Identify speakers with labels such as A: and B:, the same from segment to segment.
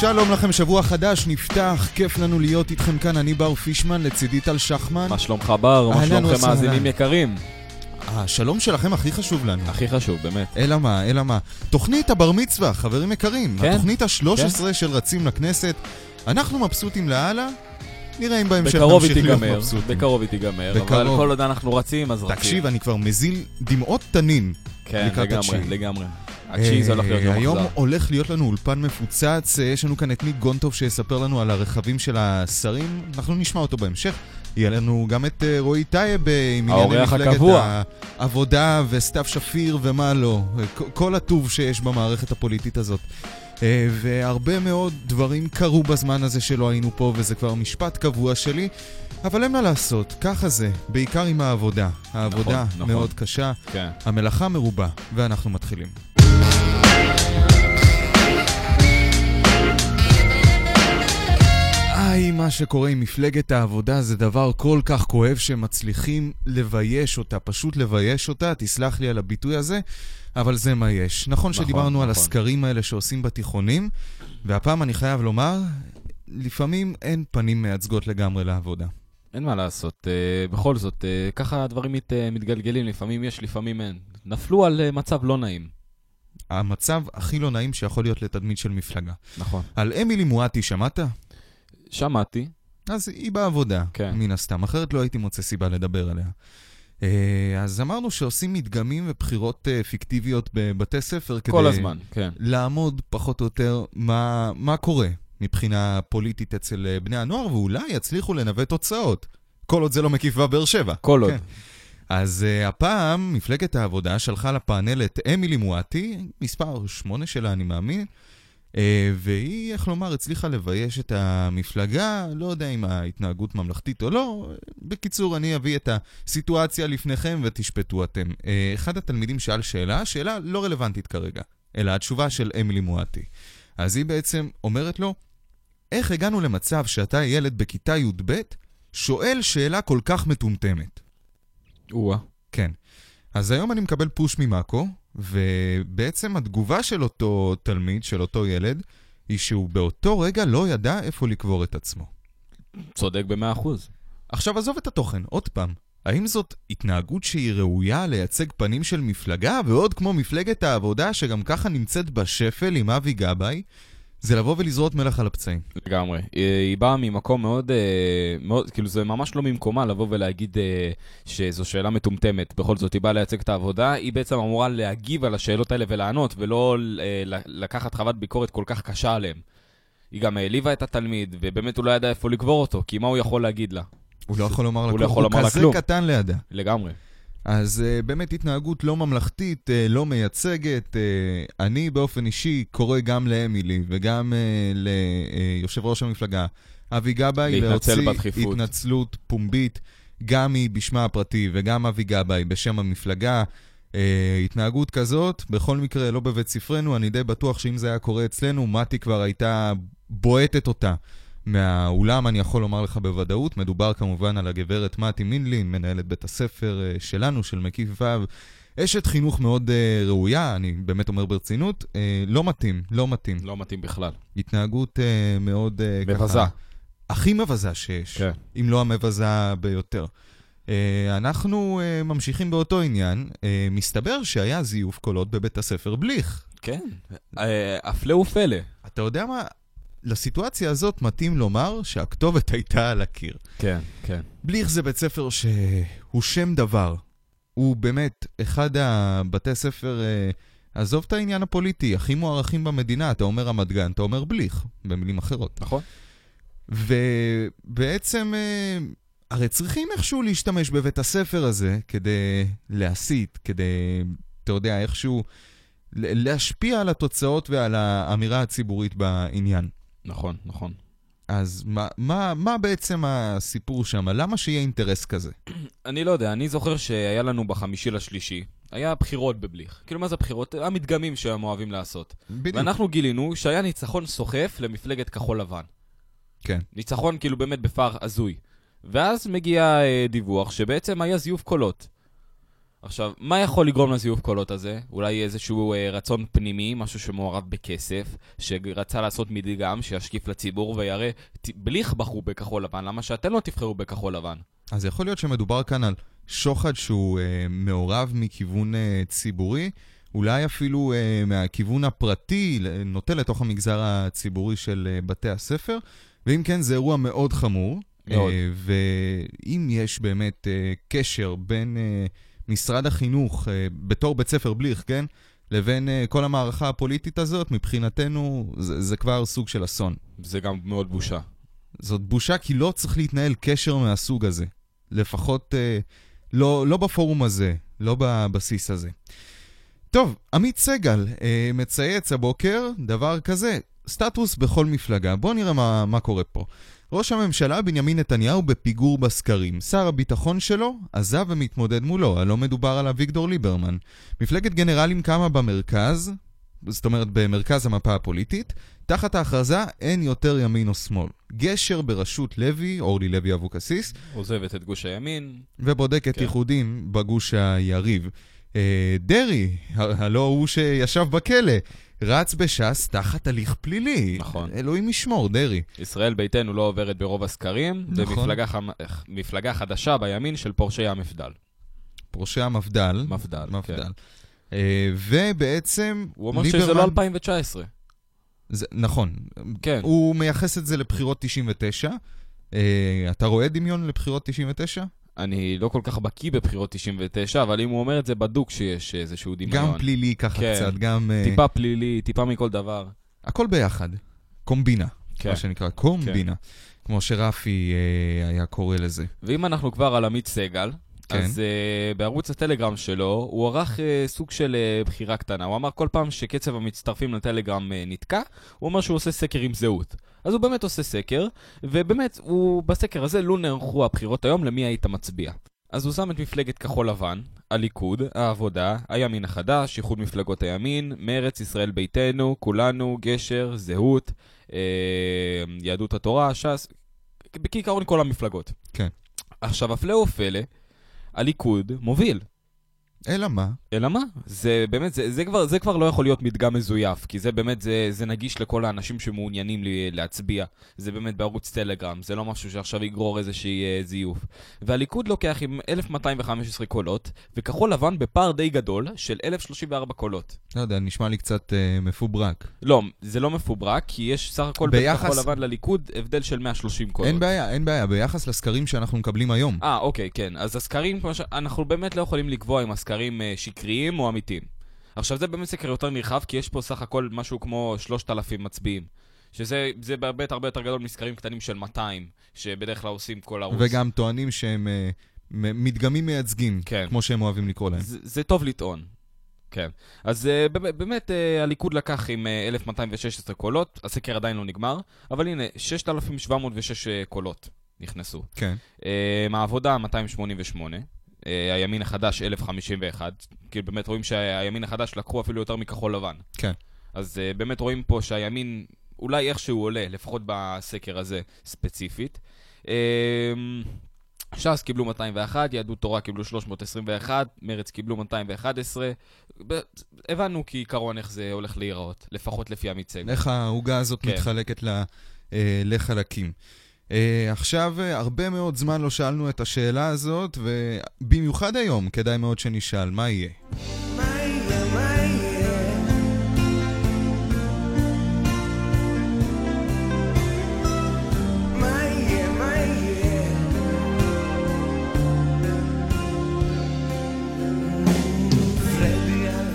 A: שלום לכם, שבוע חדש נפתח, כיף לנו להיות איתכם כאן, אני בר פישמן, לצידי טל שחמן.
B: מה שלומך בר? מה
A: אהלן
B: שלומכם
A: וסהלן.
B: מאזינים יקרים?
A: השלום שלכם הכי חשוב לנו.
B: הכי חשוב, באמת.
A: אלא מה, אלא מה. תוכנית הבר מצווה, חברים יקרים.
B: כן,
A: התוכנית ה-13 של רצים לכנסת. אנחנו מבסוטים לאללה, נראה אם בהמשך
B: בקרוב היא
A: נמשיך להיות
B: תיגמר,
A: מבסוטים.
B: בקרוב היא תיגמר, אבל
A: בקרוב.
B: כל עוד אנחנו רצים, אז רצים.
A: תקשיב, אני כבר מזיל דמעות תנין.
B: כן,
A: לקראת
B: לגמרי,
A: התשיעי.
B: לגמרי. הצ'יז הולך להיות
A: אה,
B: יום
A: היום
B: אכזר.
A: הולך להיות לנו אולפן מפוצץ, אה, יש לנו כאן את ניק גונטוב שיספר לנו על הרכבים של השרים, אנחנו נשמע אותו בהמשך. יהיה לנו גם את אה, רועי טייב אה, עם ענייני
B: האורח
A: מפלגת
B: הקבוע.
A: העבודה וסתיו שפיר ומה לא, אה, כ- כל הטוב שיש במערכת הפוליטית הזאת. אה, והרבה מאוד דברים קרו בזמן הזה שלא היינו פה, וזה כבר משפט קבוע שלי, אבל אין מה לעשות, ככה זה, בעיקר עם העבודה. העבודה
B: נכון.
A: מאוד קשה.
B: כן.
A: המלאכה מרובה, ואנחנו מתחילים. היי, מה שקורה עם מפלגת העבודה זה דבר כל כך כואב שמצליחים לבייש אותה, פשוט לבייש אותה, תסלח לי על הביטוי הזה, אבל זה מה יש. נכון שדיברנו על
B: נכון.
A: הסקרים האלה שעושים בתיכונים, והפעם אני חייב לומר, לפעמים אין פנים מייצגות לגמרי לעבודה.
B: אין מה לעשות, אה, בכל זאת, אה, ככה הדברים מת- אה, מתגלגלים, לפעמים יש, לפעמים אין. נפלו על אה, מצב לא נעים.
A: המצב הכי לא נעים שיכול להיות לתדמית של מפלגה.
B: נכון.
A: על אמילי מואטי שמעת?
B: שמעתי,
A: אז היא בעבודה, כן.
B: כן.
A: מן הסתם, אחרת לא הייתי מוצא סיבה לדבר עליה. אה, אז אמרנו שעושים מדגמים ובחירות אה, פיקטיביות בבתי ספר כדי...
B: כל הזמן, כן.
A: לעמוד פחות או יותר מה, מה קורה מבחינה פוליטית אצל אה, בני הנוער, ואולי יצליחו לנווט תוצאות. כל עוד זה לא מקיף בבאר שבע.
B: כל עוד.
A: כן. אז uh, הפעם מפלגת העבודה שלחה לפאנל את אמילי מואטי, מספר 8 שלה אני מאמין, uh, והיא, איך לומר, הצליחה לבייש את המפלגה, לא יודע אם ההתנהגות ממלכתית או לא, בקיצור, אני אביא את הסיטואציה לפניכם ותשפטו אתם. Uh, אחד התלמידים שאל שאלה, שאלה לא רלוונטית כרגע, אלא התשובה של אמילי מואטי. אז היא בעצם אומרת לו, איך הגענו למצב שאתה ילד בכיתה י"ב שואל שאלה כל כך מטומטמת?
B: או-אה.
A: כן. אז היום אני מקבל פוש ממאקו, ובעצם התגובה של אותו תלמיד, של אותו ילד, היא שהוא באותו רגע לא ידע איפה לקבור את עצמו.
B: צודק במאה אחוז.
A: עכשיו עזוב את התוכן, עוד פעם. האם זאת התנהגות שהיא ראויה לייצג פנים של מפלגה, ועוד כמו מפלגת העבודה, שגם ככה נמצאת בשפל עם אבי גבאי? זה לבוא ולזרות מלח על הפצעים.
B: לגמרי. אה, היא באה ממקום מאוד, אה, מאוד, כאילו זה ממש לא ממקומה לבוא ולהגיד אה, שזו שאלה מטומטמת. בכל זאת, היא באה לייצג את העבודה, היא בעצם אמורה להגיב על השאלות האלה ולענות, ולא אה, ל- לקחת חוות ביקורת כל כך קשה עליהן. היא גם העליבה את התלמיד, ובאמת הוא לא ידע איפה לקבור אותו, כי מה הוא יכול להגיד לה?
A: הוא לא יכול לומר לה
B: הוא לא
A: כלום,
B: יכול
A: הוא
B: לומר לה
A: כזה
B: כלום.
A: קטן לידה.
B: לגמרי.
A: אז uh, באמת התנהגות לא ממלכתית, uh, לא מייצגת. Uh, אני באופן אישי קורא גם לאמילי וגם uh, ליושב ראש המפלגה אבי גבאי
B: להתנצל בדחיפות.
A: התנצלות פומבית, גם היא בשמה הפרטי וגם אבי גבאי בשם המפלגה. Uh, התנהגות כזאת, בכל מקרה לא בבית ספרנו, אני די בטוח שאם זה היה קורה אצלנו, מתי כבר הייתה בועטת אותה. מהאולם אני יכול לומר לך בוודאות, מדובר כמובן על הגברת מתי מינלין, מנהלת בית הספר אה, שלנו, של מקיף ו', אשת חינוך מאוד אה, ראויה, אני באמת אומר ברצינות, אה, לא מתאים, לא מתאים.
B: לא מתאים בכלל.
A: התנהגות אה, מאוד אה, ככה...
B: מבזה.
A: הכי מבזה שיש,
B: כן.
A: אם לא המבזה ביותר. אה, אנחנו אה, ממשיכים באותו עניין, אה, מסתבר שהיה זיוף קולות בבית הספר בליך.
B: כן. אה, הפלא ופלא.
A: אתה יודע מה? לסיטואציה הזאת מתאים לומר שהכתובת הייתה על הקיר.
B: כן, כן.
A: בליך זה בית ספר שהוא שם דבר. הוא באמת אחד הבתי ספר, אה, עזוב את העניין הפוליטי, הכי מוערכים במדינה. אתה אומר רמת גן, אתה אומר בליך, במילים אחרות.
B: נכון.
A: ובעצם, אה, הרי צריכים איכשהו להשתמש בבית הספר הזה כדי להסית, כדי, אתה יודע, איכשהו ל- להשפיע על התוצאות ועל האמירה הציבורית בעניין.
B: נכון, נכון.
A: אז מה, מה, מה בעצם הסיפור שם? למה שיהיה אינטרס כזה?
B: אני לא יודע, אני זוכר שהיה לנו בחמישי לשלישי, היה בחירות בבליך. כאילו, מה זה בחירות? המדגמים שהם אוהבים לעשות.
A: בדיוק.
B: ואנחנו גילינו שהיה ניצחון סוחף למפלגת כחול לבן.
A: כן.
B: ניצחון כאילו באמת בפער הזוי. ואז מגיע אה, דיווח שבעצם היה זיוף קולות. עכשיו, מה יכול לגרום לזיוף קולות הזה? אולי איזשהו אה, רצון פנימי, משהו שמעורב בכסף, שרצה לעשות מדגם, שישקיף לציבור ויראה, "ת- בליך בחרו בכחול לבן, למה שאתם לא תבחרו בכחול לבן?
A: אז יכול להיות שמדובר כאן על שוחד שהוא אה, מעורב מכיוון אה, ציבורי, אולי אפילו אה, מהכיוון הפרטי, ל- נוטה לתוך המגזר הציבורי של אה, בתי הספר, ואם כן, זה אירוע מאוד חמור.
B: מאוד.
A: אה, ואם יש באמת אה, קשר בין אה, משרד החינוך, אה, בתור בית ספר בליך, כן? לבין אה, כל המערכה הפוליטית הזאת, מבחינתנו זה, זה כבר סוג של אסון.
B: זה גם מאוד בושה.
A: זאת בושה, כי לא צריך להתנהל קשר מהסוג הזה. לפחות אה, לא, לא בפורום הזה, לא בבסיס הזה. טוב, עמית סגל אה, מצייץ הבוקר דבר כזה, סטטוס בכל מפלגה. בואו נראה מה, מה קורה פה. ראש הממשלה בנימין נתניהו בפיגור בסקרים. שר הביטחון שלו עזב ומתמודד מולו, הלא מדובר על אביגדור ליברמן. מפלגת גנרלים קמה במרכז, זאת אומרת במרכז המפה הפוליטית, תחת ההכרזה אין יותר ימין או שמאל. גשר בראשות לוי, אורלי לוי אבוקסיס,
B: עוזבת את גוש הימין,
A: ובודקת
B: כן.
A: ייחודים בגוש היריב. אה, דרעי, ה- הלא הוא שישב בכלא, רץ בש"ס תחת הליך פלילי.
B: נכון.
A: אלוהים ישמור, דרעי.
B: ישראל ביתנו לא עוברת ברוב הסקרים, זה
A: נכון.
B: מפלגה חמ- אה, מפלגה חדשה בימין של פורשי המפד"ל.
A: פורשי המפד"ל.
B: מפד"ל, כן.
A: מפד"ל. אה, ובעצם,
B: הוא אומר שזה לא 2019.
A: זה- נכון.
B: כן.
A: הוא מייחס את זה לבחירות 99. אה, אתה רואה דמיון לבחירות 99?
B: אני לא כל כך בקיא בבחירות 99, אבל אם הוא אומר את זה בדוק שיש איזשהו דמיון.
A: גם פלילי ככה
B: כן.
A: קצת, גם... אה,
B: טיפה פלילי, טיפה מכל דבר.
A: הכל ביחד. קומבינה,
B: כן.
A: מה שנקרא, קומבינה. כמו שרפי אה, היה קורא לזה.
B: ואם אנחנו כבר על עמית סגל,
A: כן.
B: אז uh, בערוץ הטלגרם שלו, הוא ערך uh, סוג של uh, בחירה קטנה. הוא אמר כל פעם שקצב המצטרפים לטלגרם uh, נתקע, הוא אומר שהוא עושה סקר עם זהות. אז הוא באמת עושה סקר, ובאמת, הוא, בסקר הזה לא נערכו הבחירות היום למי היית מצביע. אז הוא שם את מפלגת כחול לבן, הליכוד, העבודה, הימין החדש, איחוד מפלגות הימין, מרץ, ישראל ביתנו, כולנו, גשר, זהות, אה, יהדות התורה, ש"ס, בעיקרון כל המפלגות.
A: כן.
B: עכשיו, הפלא ופלא, הליכוד מוביל.
A: אלא מה?
B: אלא מה? זה באמת, זה, זה, כבר, זה כבר לא יכול להיות מדגם מזויף, כי זה באמת, זה, זה נגיש לכל האנשים שמעוניינים לי, להצביע. זה באמת בערוץ טלגרם, זה לא משהו שעכשיו יגרור איזושהי אה, זיוף. והליכוד לוקח עם 1,215 קולות, וכחול לבן בפער די גדול של 1,034 קולות.
A: לא יודע, נשמע לי קצת אה, מפוברק.
B: לא, זה לא מפוברק, כי יש סך הכל
A: ביחס-
B: בין כחול לבן לליכוד הבדל של 130 קולות.
A: אין בעיה, אין בעיה, ביחס לסקרים שאנחנו מקבלים היום.
B: אה, אוקיי, כן. אז הסקרים, כמו ש... אנחנו באמת לא יכולים לקבוע אם הסקרים אה, שקריים או אמיתיים. עכשיו, זה באמת סקר יותר נרחב, כי יש פה סך הכל משהו כמו 3,000 מצביעים. שזה זה באמת הרבה יותר גדול מסקרים קטנים של 200, שבדרך כלל עושים כל ערוץ.
A: וגם טוענים שהם אה, מ- מדגמים מייצגים,
B: כן.
A: כמו שהם אוהבים לקרוא להם.
B: זה, זה טוב לטעון. כן. אז uh, באמת uh, הליכוד לקח עם uh, 1,216 קולות, הסקר עדיין לא נגמר, אבל הנה, 6,706 אה, קולות נכנסו.
A: כן.
B: אה, העבודה 288, אה, הימין החדש 1051, כי באמת רואים שהימין החדש לקחו אפילו יותר מכחול לבן.
A: כן.
B: אז אה, באמת רואים פה שהימין אולי איכשהו עולה, לפחות בסקר הזה ספציפית. אה, ש"ס קיבלו 201, יהדות תורה קיבלו 321, מרצ קיבלו 211. ב- הבנו כעיקרון איך זה הולך להיראות, לפחות לפי עמית סגל.
A: איך העוגה הזאת
B: כן.
A: מתחלקת ל- אה, לחלקים. אה, עכשיו, אה, הרבה מאוד זמן לא שאלנו את השאלה הזאת, ובמיוחד היום כדאי מאוד שנשאל, מה יהיה?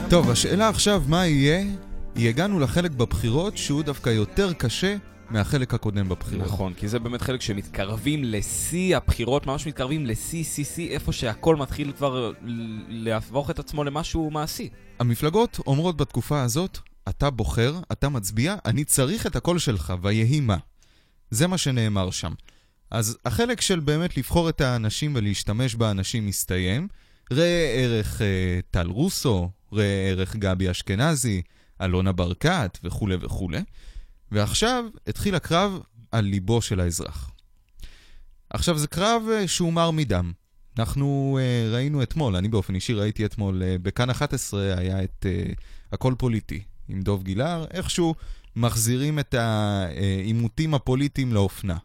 A: טוב, השאלה עכשיו, מה יהיה? היא הגענו לחלק בבחירות שהוא דווקא יותר קשה מהחלק הקודם בבחירות.
B: נכון, כי זה באמת חלק שמתקרבים לשיא הבחירות, ממש מתקרבים לשיא, שיא, שיא, איפה שהכל מתחיל כבר ל- להפוך את עצמו למשהו מעשי.
A: המפלגות אומרות בתקופה הזאת, אתה בוחר, אתה מצביע, אני צריך את הקול שלך, ויהי מה. זה מה שנאמר שם. אז החלק של באמת לבחור את האנשים ולהשתמש באנשים מסתיים. ראה ערך אה, טל רוסו, ראה ערך גבי אשכנזי, אלונה ברקת וכולי וכולי. ועכשיו התחיל הקרב על ליבו של האזרח. עכשיו, זה קרב אה, שהוא מר מדם. אנחנו אה, ראינו אתמול, אני באופן אישי ראיתי אתמול, אה, בכאן 11 היה את אה, הכל פוליטי עם דוב גילהר, איכשהו מחזירים את העימותים הפוליטיים לאופנה.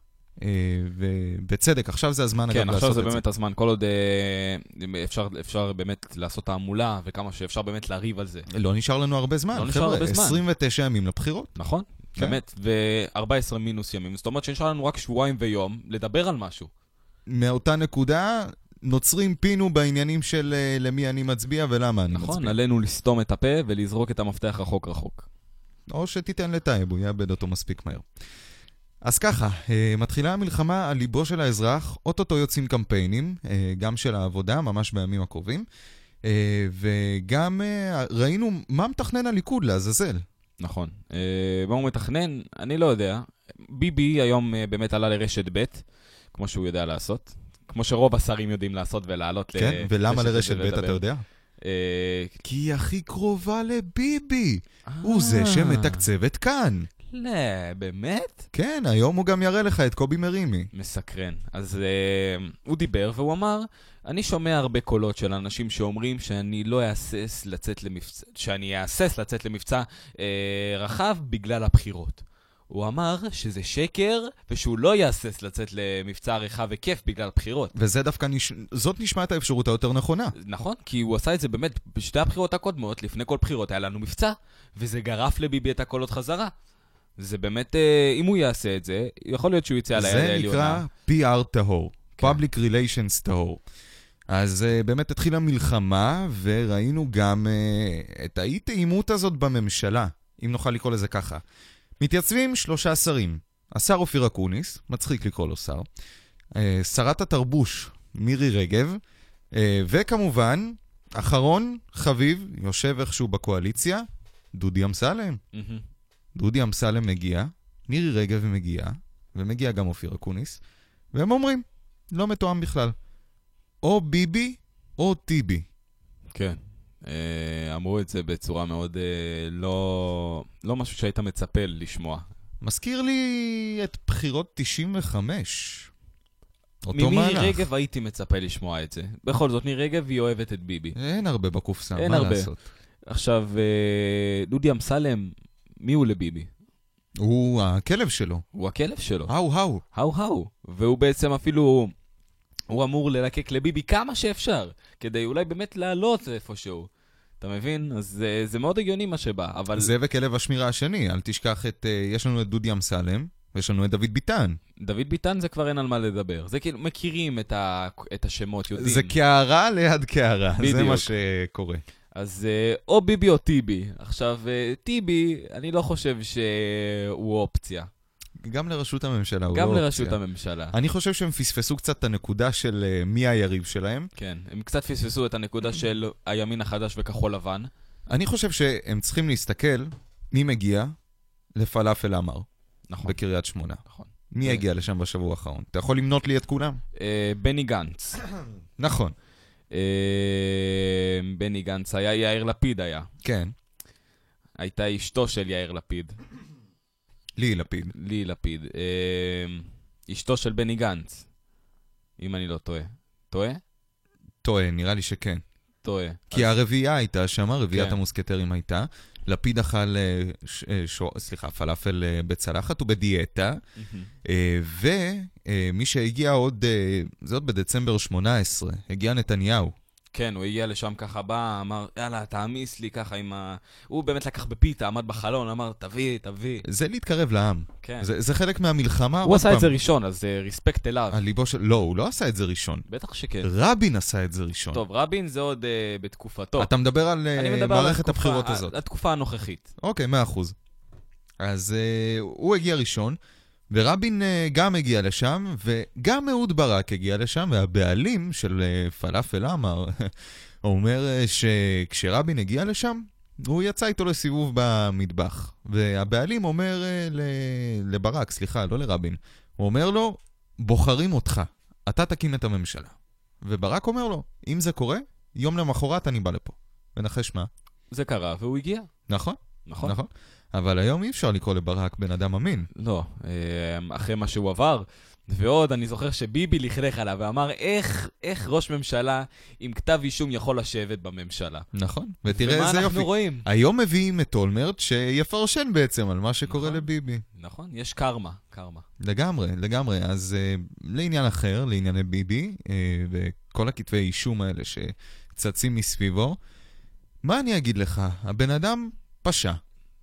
A: אה, ובצדק, עכשיו זה הזמן
B: כן,
A: אגב
B: עכשיו
A: לעשות
B: זה
A: את
B: באמת הזמן, כל עוד אה, אפשר, אפשר באמת לעשות תעמולה וכמה שאפשר באמת לריב על זה,
A: זה. לא נשאר לנו הרבה זמן,
B: לא נשאר
A: חבר'ה,
B: הרבה זמן.
A: 29 ימים לבחירות.
B: נכון?
A: כן.
B: באמת, ו-14 מינוס ימים, זאת אומרת שנשאר לנו רק שבועיים ויום לדבר על משהו.
A: מאותה נקודה, נוצרים פינו בעניינים של אה, למי אני מצביע ולמה אני מצביע.
B: נכון, עלינו לסתום את הפה ולזרוק את המפתח רחוק רחוק.
A: או שתיתן לטייב, הוא יאבד אותו מספיק מהר. אז ככה, אה, מתחילה המלחמה על ליבו של האזרח, אוטוטו יוצאים קמפיינים, אה, גם של העבודה, ממש בימים הקרובים, אה, וגם אה, ראינו מה מתכנן הליכוד לעזאזל.
B: נכון. אה, מה הוא מתכנן? אני לא יודע. ביבי היום אה, באמת עלה לרשת ב', כמו שהוא יודע לעשות. כמו שרוב השרים יודעים לעשות ולעלות ל-
A: כן? ולמה לרשת
B: ב'
A: ב' אתה
B: ולדבר.
A: יודע?
B: אה,
A: כי היא הכי קרובה לביבי, הוא זה שמתקצב את כאן.
B: לא, אה, באמת?
A: כן, היום הוא גם יראה לך את קובי מרימי.
B: מסקרן. אז אה, הוא דיבר והוא אמר, אני שומע הרבה קולות של אנשים שאומרים שאני לא אהסס לצאת למבצע, שאני אהסס לצאת למבצע אה, רחב בגלל הבחירות. הוא אמר שזה שקר ושהוא לא יהסס לצאת למבצע רחב וכיף בגלל בחירות.
A: וזה דווקא, נש... זאת נשמעת האפשרות היותר נכונה.
B: נכון, כי הוא עשה את זה באמת בשתי הבחירות הקודמות, לפני כל בחירות היה לנו מבצע, וזה גרף לביבי את הקולות חזרה. זה באמת, אה, אם הוא יעשה את זה, יכול להיות שהוא יצא על היד
A: זה
B: העליונה.
A: נקרא PR טהור,
B: כן.
A: Public Relations טהור. אז uh, באמת התחילה מלחמה, וראינו גם uh, את האי-תאימות הזאת בממשלה, אם נוכל לקרוא לזה ככה. מתייצבים שלושה שרים. השר אופיר אקוניס, מצחיק לקרוא לו שר, uh, שרת התרבוש מירי רגב, uh, וכמובן, אחרון, חביב, יושב איכשהו בקואליציה, דודי אמסלם.
B: מהמם.
A: דודי אמסלם מגיע, מירי רגב מגיעה, ומגיע גם אופיר אקוניס, והם אומרים, לא מתואם בכלל. או ביבי או טיבי.
B: כן. אה, אמרו את זה בצורה מאוד אה, לא... לא משהו שהיית מצפה לשמוע.
A: מזכיר לי את בחירות 95. אותו
B: ממירי
A: מהלך.
B: רגב הייתי מצפה לשמוע את זה. בכל זאת, מירי רגב היא אוהבת את ביבי.
A: אין הרבה בקופסה,
B: אין
A: מה
B: הרבה.
A: לעשות?
B: עכשיו, אה, דודי אמסלם, מי הוא לביבי?
A: הוא הכלב שלו.
B: הוא הכלב שלו.
A: האו האו.
B: האו האו. והוא בעצם אפילו... הוא אמור ללקק לביבי כמה שאפשר, כדי אולי באמת לעלות איפשהו. אתה מבין? אז אה, זה מאוד הגיוני מה שבא, אבל...
A: זה וכלב השמירה השני, אל תשכח את... אה, יש לנו את דודי אמסלם, ויש לנו את דוד ביטן.
B: דוד ביטן זה כבר אין על מה לדבר. זה כאילו, מכירים את, ה... את השמות, יודעים.
A: זה קערה ליד קערה, זה
B: בדיוק.
A: מה שקורה.
B: אז אה, או ביבי או טיבי. עכשיו, אה, טיבי, אני לא חושב שהוא אופציה.
A: גם לראשות הממשלה הוא לא
B: גם
A: אופציה.
B: לראשות הממשלה.
A: אני חושב שהם פספסו קצת את הנקודה של אה, מי היריב שלהם.
B: כן, הם קצת פספסו את הנקודה של הימין החדש וכחול לבן.
A: אני חושב שהם צריכים להסתכל מי מגיע לפלאפל עמר
B: נכון.
A: בקריית שמונה.
B: נכון.
A: מי
B: כן.
A: הגיע לשם בשבוע האחרון? אתה יכול למנות לי את כולם?
B: אה, בני גנץ.
A: נכון,
B: אה, בני גנץ היה, יאיר לפיד היה.
A: כן.
B: הייתה אשתו של יאיר לפיד,
A: לי לפיד.
B: לי לפיד. אה, אשתו של בני גנץ, אם אני לא טועה. טועה?
A: טועה, נראה לי שכן.
B: טועה.
A: כי הרביעייה הייתה שם, רביעיית
B: כן.
A: המוסקטרים הייתה. לפיד אכל, אה, ש- אה, שו- סליחה, פלאפל אה, בצלחת ובדיאטה. אה,
B: מהמם.
A: ומי שהגיע עוד, אה, זה עוד בדצמבר 18, הגיע נתניהו.
B: כן, הוא הגיע לשם ככה, בא, אמר, יאללה, תעמיס לי ככה עם ה... הוא באמת לקח בפיתה, עמד בחלון, אמר, תביא, תביא.
A: זה להתקרב לעם.
B: כן.
A: זה, זה חלק מהמלחמה.
B: הוא
A: עוד
B: עשה את
A: פעם,
B: זה ראשון, אז אה, ריספקט אליו.
A: על ליבו של... לא, הוא לא עשה את זה ראשון.
B: בטח שכן.
A: רבין עשה את זה ראשון.
B: טוב, רבין זה עוד אה, בתקופתו.
A: אתה מדבר על אה,
B: אני מדבר על
A: מערכת
B: התקופה-
A: הבחירות
B: ה-
A: הזאת.
B: התקופה הנוכחית.
A: אוקיי, מאה אחוז. אז אה, הוא הגיע ראשון, ורבין אה, גם הגיע לשם, וגם אהוד ברק הגיע לשם, והבעלים של אה, פלאפל עמר אומר אה, שכשרבין הגיע לשם, הוא יצא איתו לסיבוב במטבח. והבעלים אומר אה, ל- לברק, סליחה, לא לרבין, הוא אומר לו, בוחרים אותך, אתה תקים את הממשלה. וברק אומר לו, אם זה קורה, יום למחרת אני בא לפה. ונחש מה?
B: זה קרה, והוא הגיע.
A: נכון?
B: נכון?
A: נכון. אבל היום אי אפשר לקרוא לברק בן אדם אמין.
B: לא. אה, אחרי מה שהוא עבר, ועוד, אני זוכר שביבי לכלך עליו ואמר, איך, איך ראש ממשלה עם כתב אישום יכול לשבת בממשלה?
A: נכון. ותראה
B: ומה
A: איזה
B: אנחנו
A: יופי.
B: רואים?
A: היום מביאים את אולמרט שיפרשן בעצם על מה שקורה
B: נכון.
A: לביבי.
B: נכון, יש קרמה, קרמה.
A: לגמרי, לגמרי. אז אה, לעניין אחר, לענייני ביבי, אה, וכל הכתבי אישום האלה שצצים מסביבו, מה אני אגיד לך? הבן אדם פשע,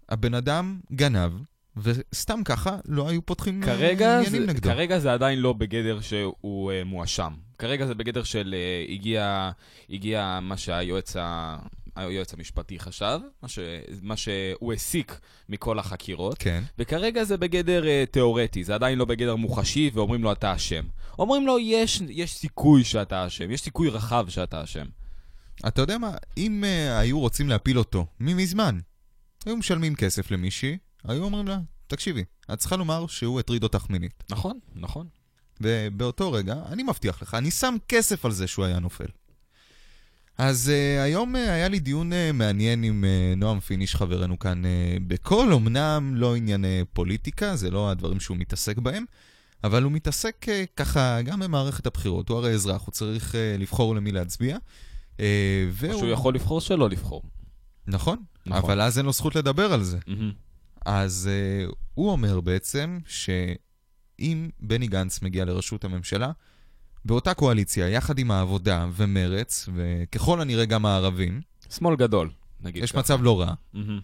A: הבן אדם גנב, וסתם ככה לא היו פותחים אה,
B: כרגע זה,
A: עניינים נגדו.
B: כרגע זה עדיין לא בגדר שהוא אה, מואשם. כרגע זה בגדר של אה, הגיע, הגיע מה שהיועץ ה, היועץ המשפטי חשב, מה, ש, מה שהוא הסיק מכל החקירות.
A: כן,
B: וכרגע זה בגדר אה, תיאורטי, זה עדיין לא בגדר מוחשי, ואומרים לו אתה אשם. אומרים לו יש, יש סיכוי שאתה אשם, יש סיכוי רחב שאתה אשם.
A: אתה יודע מה? אם אה, היו רוצים להפיל אותו, ממזמן, היו משלמים כסף למישהי, היו אומרים לה, תקשיבי, את צריכה לומר שהוא הטריד אותך מינית.
B: נכון, נכון.
A: ובאותו רגע, אני מבטיח לך, אני שם כסף על זה שהוא היה נופל. אז uh, היום uh, היה לי דיון uh, מעניין עם uh, נועם פיניש, חברנו כאן, uh, בכל, אמנם לא ענייני פוליטיקה, זה לא הדברים שהוא מתעסק בהם, אבל הוא מתעסק uh, ככה גם במערכת הבחירות. הוא הרי אזרח, הוא צריך uh, לבחור למי להצביע. Uh, והוא...
B: או שהוא יכול לבחור שלא לבחור.
A: נכון, נכון,
B: נכון.
A: אבל אז אין לו זכות לדבר על זה.
B: מהמם.
A: אז uh, הוא אומר בעצם שאם בני גנץ מגיע לראשות הממשלה, באותה קואליציה, יחד עם העבודה ומרץ, וככל הנראה גם הערבים,
B: שמאל גדול, נגיד
A: יש
B: ככה.
A: מצב לא רע,
B: מהמם.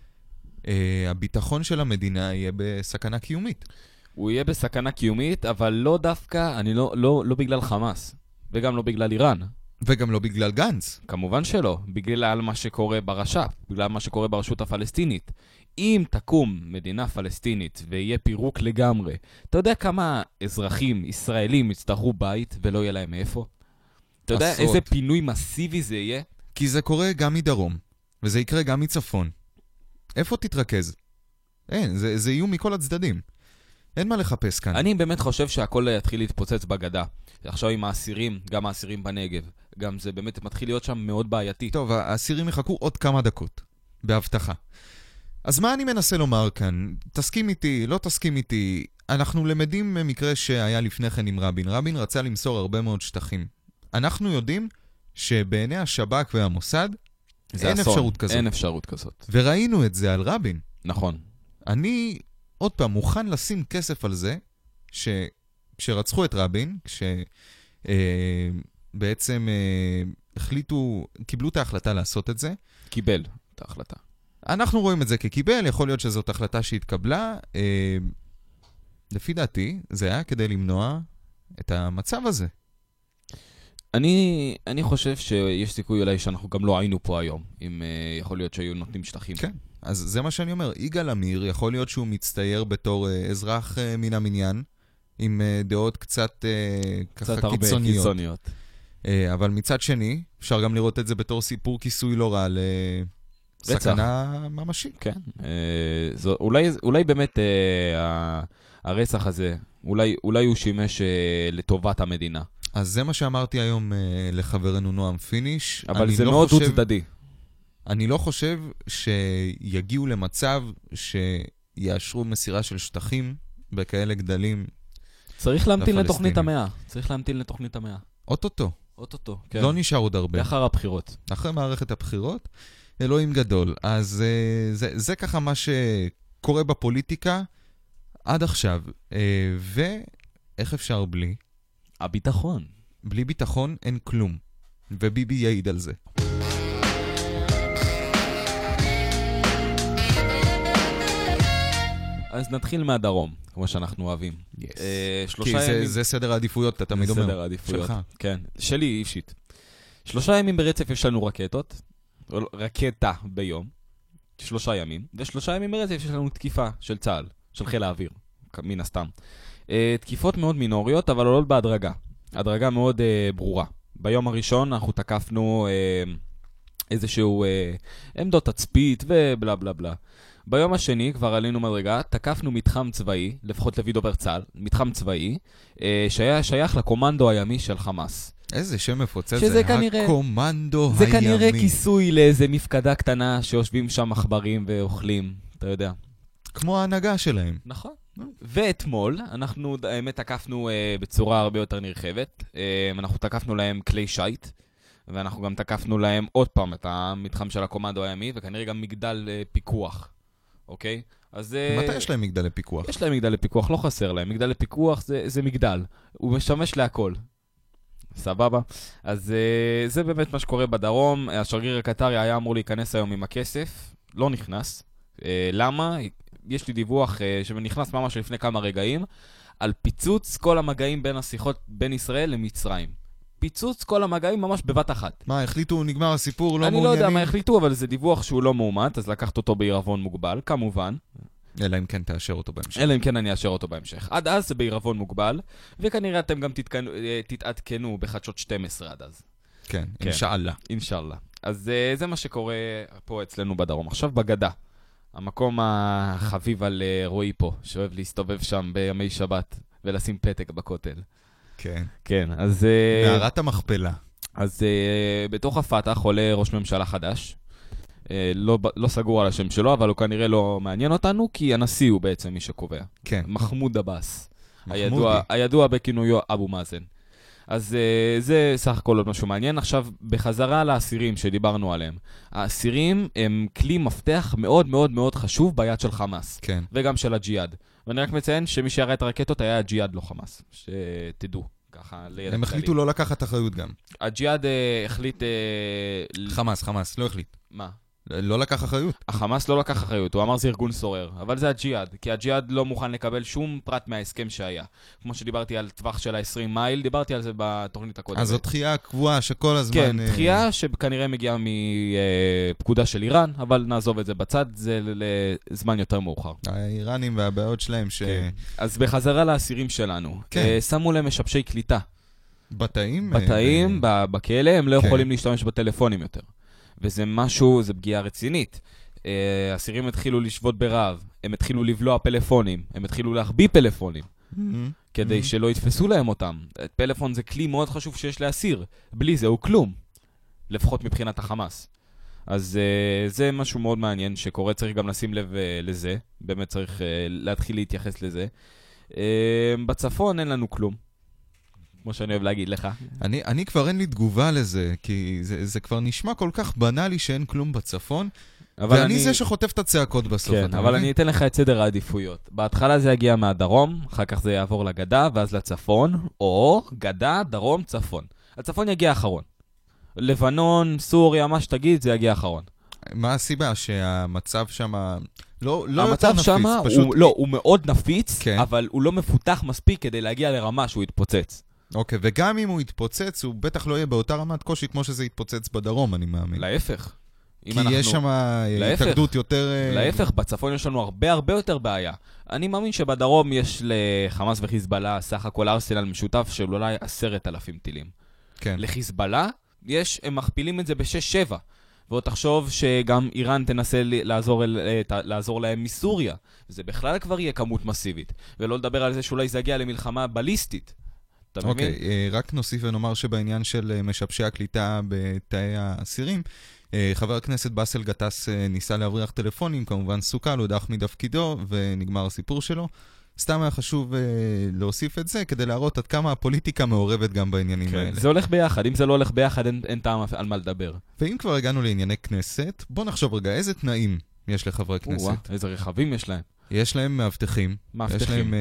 A: uh, הביטחון של המדינה יהיה בסכנה קיומית.
B: הוא יהיה בסכנה קיומית, אבל לא דווקא, אני לא, לא, לא בגלל חמאס, וגם לא בגלל איראן.
A: וגם לא בגלל גנץ.
B: כמובן שלא, בגלל מה שקורה ברש"פ, בגלל מה שקורה ברשות הפלסטינית. אם תקום מדינה פלסטינית ויהיה פירוק לגמרי, אתה יודע כמה אזרחים ישראלים יצטרכו בית ולא יהיה להם מאיפה? אתה יודע
A: עשרות.
B: איזה פינוי מסיבי זה יהיה?
A: כי זה קורה גם מדרום, וזה יקרה גם מצפון. איפה תתרכז? אין, זה, זה איום מכל הצדדים. אין מה לחפש כאן.
B: אני באמת חושב שהכל יתחיל להתפוצץ בגדה. עכשיו עם האסירים, גם האסירים בנגב. גם זה באמת מתחיל להיות שם מאוד בעייתי.
A: טוב, האסירים יחכו עוד כמה דקות, בהבטחה. אז מה אני מנסה לומר כאן? תסכים איתי, לא תסכים איתי. אנחנו למדים ממקרה שהיה לפני כן עם רבין. רבין רצה למסור הרבה מאוד שטחים. אנחנו יודעים שבעיני השב"כ והמוסד,
B: זה
A: אין
B: אסון.
A: אפשרות כזאת.
B: אין אפשרות כזאת.
A: וראינו את זה על רבין.
B: נכון.
A: אני, עוד פעם, מוכן לשים כסף על זה, שכשרצחו את רבין, כשבעצם אה, בעצם, אה, החליטו, קיבלו את ההחלטה לעשות את זה,
B: קיבל את ההחלטה.
A: אנחנו רואים את זה כקיבל, יכול להיות שזאת החלטה שהתקבלה. אה, לפי דעתי, זה היה כדי למנוע את המצב הזה.
B: אני, אני חושב שיש סיכוי אולי שאנחנו גם לא היינו פה היום, אם uh, יכול להיות שהיו נותנים שטחים.
A: כן. אז זה מה שאני אומר, יגאל עמיר, יכול להיות שהוא מצטייר בתור אה, אזרח אה, מן המניין, עם אה, דעות קצת אה, ככה
B: קצת הרבה
A: קיצוניות.
B: קיצוניות.
A: אה, אבל מצד שני, אפשר גם לראות את זה בתור סיפור כיסוי לא רע
B: רצח.
A: לסכנה ממשית.
B: כן. Uh, זו, אולי, אולי באמת uh, ה, הרצח הזה, אולי, אולי הוא שימש uh, לטובת המדינה.
A: אז זה מה שאמרתי היום אה, לחברנו נועם פיניש.
B: אבל
A: אני
B: זה
A: לא
B: מאוד
A: חושב-
B: דו-צדדי.
A: אני לא חושב שיגיעו למצב שיאשרו מסירה של שטחים בכאלה גדלים.
B: צריך להמתין
A: לפלסטינים.
B: לתוכנית המאה. צריך להמתין לתוכנית המאה.
A: אוטוטו,
B: אוטוטו. כן.
A: כן. לא נשאר עוד הרבה.
B: לאחר הבחירות.
A: אחרי מערכת הבחירות, אלוהים גדול. אז אה, זה, זה ככה מה שקורה בפוליטיקה עד עכשיו. אה, ואיך אפשר בלי?
B: הביטחון.
A: בלי ביטחון אין כלום. וביבי יעיד על זה.
B: אז נתחיל מהדרום, כמו שאנחנו אוהבים. אה, שלושה
A: כי זה,
B: ימים...
A: זה סדר העדיפויות, אתה תמיד אומר.
B: סדר העדיפויות.
A: שלך.
B: כן, שלי אישית. שלושה ימים ברצף יש לנו רקטות, או לא, רקטה ביום, שלושה ימים, ושלושה ימים ברצף יש לנו תקיפה של צה"ל, של חיל האוויר, כ- מן הסתם. אה, תקיפות מאוד מינוריות, אבל עולות בהדרגה. הדרגה מאוד אה, ברורה. ביום הראשון אנחנו תקפנו אה, איזשהו אה, עמדות תצפית ובלה בלה בלה. ביום השני כבר עלינו מדרגה, תקפנו מתחם צבאי, לפחות לפי דובר צה"ל, מתחם צבאי, אה, שהיה שייך לקומנדו הימי של חמאס.
A: איזה שם מפוצץ
B: שזה
A: זה,
B: כנראה-
A: הקומנדו
B: זה
A: הימי.
B: כנראה כיסוי לאיזה מפקדה קטנה שיושבים שם עכברים ואוכלים, אתה יודע.
A: כמו ההנהגה שלהם.
B: נכון, ואתמול אנחנו, ד- האמת, תקפנו אה, בצורה הרבה יותר נרחבת. אה, אנחנו תקפנו להם כלי שיט, ואנחנו גם תקפנו להם עוד פעם את המתחם של הקומנדו הימי, וכנראה גם מגדל אה, פיקוח, אוקיי? אז... אה,
A: מתי יש להם מגדלי פיקוח?
B: יש להם מגדל לפיקוח, לא חסר להם. מגדל לפיקוח זה, זה מגדל, הוא משמש להכל. סבבה. אז אה, זה באמת מה שקורה בדרום. השגריר הקטרי היה אמור להיכנס היום עם הכסף, לא נכנס. אה, למה? יש לי דיווח אה, שנכנס ממש לפני כמה רגעים, על פיצוץ כל המגעים בין השיחות בין ישראל למצרים. פיצוץ כל המגעים ממש בבת אחת.
A: מה, החליטו, נגמר הסיפור, לא
B: אני לא
A: מעוניינים?
B: יודע מה החליטו, אבל זה דיווח שהוא לא מאומת, אז לקחת אותו בעירבון מוגבל, כמובן.
A: אלא אם כן תאשר אותו בהמשך.
B: אלא אם כן אני אאשר אותו בהמשך. עד אז זה בעירבון מוגבל, וכנראה אתם גם תתקנו, אה, תתעדכנו בחדשות 12 עד אז,
A: כן,
B: כן.
A: אינשאללה.
B: אינשאללה. אז אה, זה מה שקורה פה אצלנו בדרום. עכשיו בגדה, המקום החביב על אה, רועי פה, שאוהב להסתובב שם בימי שבת ולשים פתק בכותל.
A: כן.
B: כן, אז... אה,
A: מערת המכפלה.
B: אז אה, בתוך הפת"ח עולה ראש ממשלה חדש. אה, לא, ב- לא סגור על השם שלו, אבל הוא כנראה לא מעניין אותנו, כי הנשיא הוא בעצם מי שקובע.
A: כן.
B: מחמוד עבאס.
A: מחמודי.
B: הידוע, הידוע בכינויו אבו מאזן. אז uh, זה סך הכל עוד משהו מעניין. עכשיו, בחזרה לאסירים שדיברנו עליהם. האסירים הם כלי מפתח מאוד מאוד מאוד חשוב ביד של חמאס,
A: כן.
B: וגם של הג'יהאד. ואני רק מציין שמי שירה את הרקטות היה הג'יהאד, לא חמאס. שתדעו, ככה לידע
A: הם החליטו לא לקחת אחריות גם.
B: הג'יהאד אה, החליט... אה, ל-
A: חמאס, חמאס, לא החליט.
B: מה?
A: לא לקח אחריות.
B: החמאס לא לקח אחריות, הוא אמר זה ארגון סורר, אבל זה הג'יהאד, כי הג'יהאד לא מוכן לקבל שום פרט מההסכם שהיה. כמו שדיברתי על טווח של ה-20 מייל, דיברתי על זה בתוכנית הקודמת.
A: אז זו דחייה קבועה שכל הזמן...
B: כן,
A: אה,
B: דחייה שכנראה מגיעה מפקודה של איראן, אבל נעזוב את זה בצד, זה ל- לזמן יותר מאוחר.
A: האיראנים והבעיות שלהם
B: כן. אז בחזרה לאסירים שלנו,
A: כן.
B: אה, שמו להם משבשי קליטה.
A: שבתאים... אה,
B: בתאים, ב- בכלא, הם לא
A: כן.
B: יכולים להשתמש בטלפונים יותר. וזה משהו, זה פגיעה רצינית. אה, אסירים התחילו לשבות ברעב, הם התחילו לבלוע פלאפונים, הם התחילו להחביא פלאפונים,
A: אה,
B: כדי
A: אה.
B: שלא יתפסו להם אותם. פלאפון זה כלי מאוד חשוב שיש לאסיר, בלי זה הוא כלום, לפחות מבחינת החמאס. אז אה, זה משהו מאוד מעניין שקורה, צריך גם לשים לב אה, לזה, באמת צריך אה, להתחיל להתייחס לזה. אה, בצפון אין לנו כלום, כמו שאני אוהב להגיד לך.
A: אני, אני כבר אין לי תגובה לזה, כי זה, זה כבר נשמע כל כך בנאלי שאין כלום בצפון,
B: אבל
A: ואני אני... זה שחוטף את הצעקות בסוף.
B: כן,
A: אתה
B: אבל
A: מבין?
B: אני אתן לך את סדר העדיפויות. בהתחלה זה יגיע מהדרום, אחר כך זה יעבור לגדה, ואז לצפון, או גדה, דרום, צפון. הצפון יגיע אחרון. לבנון, סוריה, מה שתגיד, זה יגיע אחרון.
A: מה הסיבה שהמצב שם לא, לא יותר
B: המצב
A: נפיץ?
B: שם,
A: פשוט...
B: הוא, לא, הוא מאוד נפיץ,
A: כן.
B: אבל הוא לא מפותח מספיק כדי להגיע לרמה שהוא יתפוצץ.
A: אוקיי, וגם אם הוא יתפוצץ, הוא בטח לא יהיה באותה רמת קושי כמו שזה יתפוצץ בדרום, אני מאמין.
B: להפך. אם
A: כי יש שם אה,
B: להפך.
A: התאגדות יותר... אה,
B: להפך, בצפון יש לנו הרבה הרבה יותר בעיה. אני מאמין שבדרום יש לחמאס וחיזבאללה סך הכל ארסנל משותף של אולי עשרת אלפים טילים.
A: כן.
B: לחיזבאללה, יש, הם מכפילים את זה ב-6-7. ועוד תחשוב שגם איראן תנסה ל- לעזור, אל, אה, ת- לעזור להם מסוריה. זה בכלל כבר יהיה כמות מסיבית. ולא לדבר על זה שאולי זה יגיע למלחמה בליסטית. אתה מבין?
A: אוקיי, אה, רק נוסיף ונאמר שבעניין של אה, משבשי הקליטה בתאי האסירים, אה, חבר הכנסת באסל גטאס אה, ניסה להבריח טלפונים, כמובן סוכל, הודח מתפקידו ונגמר הסיפור שלו. סתם היה חשוב אה, להוסיף את זה כדי להראות עד כמה הפוליטיקה מעורבת גם בעניינים
B: כן,
A: האלה.
B: זה הולך ביחד, אם זה לא הולך ביחד אין, אין טעם על מה לדבר.
A: ואם כבר הגענו לענייני כנסת, בוא נחשוב רגע, איזה תנאים יש לחברי
B: או-אה,
A: כנסת?
B: איזה רכבים יש להם.
A: יש להם מאבטחים, יש להם
B: מאבטחים,
A: אה,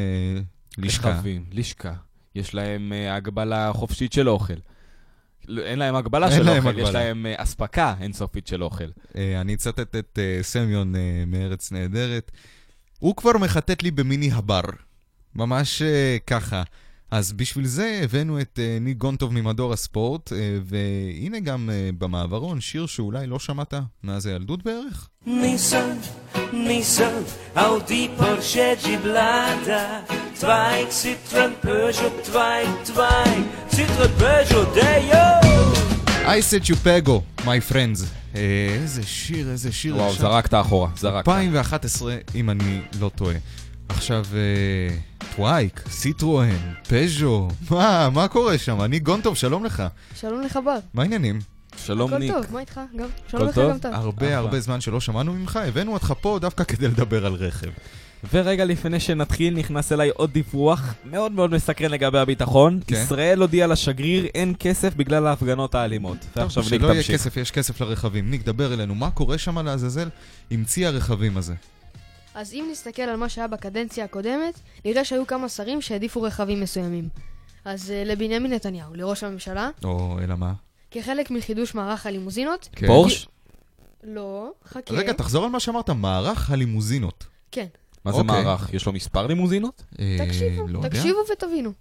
A: לשכה.
B: רכבים, לשכה. יש להם אה, הגבלה חופשית של אוכל. לא, אין להם הגבלה
A: אין
B: של
A: להם
B: אוכל, יש
A: הגבלה.
B: להם אה, אספקה אינסופית של אוכל.
A: אה, אני אצטט את אה, סמיון אה, מארץ נהדרת. הוא כבר מחטט לי במיני הבר. ממש אה, ככה. אז בשביל זה הבאנו את אה, ניק גונטוב ממדור הספורט, אה, והנה גם אה, במעברון שיר שאולי לא שמעת מאז הילדות בערך.
C: Nissan, Nissan, Audi, Porsche, Jeep, Lada. Zweig, Citroën, Peugeot, Zweig, Zweig, Citroën, Peugeot, Dejo.
A: I said you pago, my friends. אה, איזה שיר, איזה שיר.
B: וואו,
A: ישר.
B: זרקת אחורה, זרקת.
A: 2011, אם אני לא טועה. עכשיו, אה, טווייק, סיטרואן, פז'ו, מה, מה קורה שם? אני גונטוב, שלום לך.
D: שלום לך בר.
A: מה העניינים?
B: שלום
D: הכל
B: ניק.
D: טוב, מה איתך? גם? שלום לך
B: טוב?
D: גם טוב.
A: הרבה
B: אחלה.
A: הרבה זמן שלא שמענו ממך, הבאנו אותך פה דווקא כדי לדבר על רכב.
B: ורגע לפני שנתחיל, נכנס אליי עוד דיווח מאוד מאוד מסקרן לגבי הביטחון.
A: כן.
B: ישראל הודיעה לשגריר אין כסף בגלל ההפגנות האלימות. ועכשיו ליג
A: שלא יהיה
B: תמשיך.
A: כסף, יש כסף לרכבים. ניק, דבר אלינו, מה קורה שם לעזאזל עם צי הרכבים הזה?
D: אז אם נסתכל על מה שהיה בקדנציה הקודמת, נראה שהיו כמה שרים שהעדיפו רכבים מסוימים. אז אה, לבנימין נתניהו, לראש הממשלה,
A: או, אלא מה?
D: כחלק מחידוש מערך הלימוזינות,
A: כן.
B: פורש?
D: לא, חכה.
A: רגע, תחזור על מה שאמרת, מערך הלימוזינות.
D: כן.
B: מה זה
A: אוקיי.
B: מערך? יש לו מספר לימוזינות?
A: אה,
D: תקשיבו,
A: לא יודע.
D: תקשיבו ותבינו.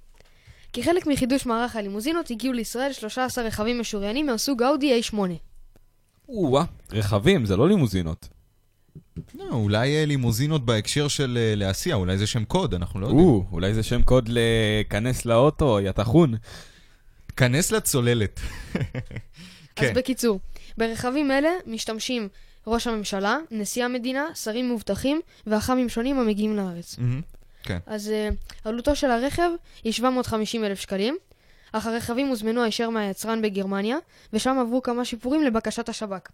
D: כחלק מחידוש מערך הלימוזינות, הגיעו לישראל 13 רכבים משוריינים מהסוג אאודי A8.
B: או-אה. רכבים, זה לא לימוזינות.
A: לא, אולי אה, לימוזינות בהקשר של אה, להסיע, אולי זה שם קוד, אנחנו לא יודעים.
B: או, אולי זה שם קוד לכנס לאוטו, יא טחון.
A: כנס לצוללת.
D: אז
A: כן.
D: בקיצור, ברכבים אלה משתמשים ראש הממשלה, נשיא המדינה, שרים מאובטחים ואח"מים שונים המגיעים לארץ.
A: מהמם. כן.
D: אז אה, עלותו של הרכב היא 750 אלף שקלים, אך הרכבים הוזמנו הישר מהיצרן בגרמניה, ושם עברו כמה שיפורים לבקשת השב"כ.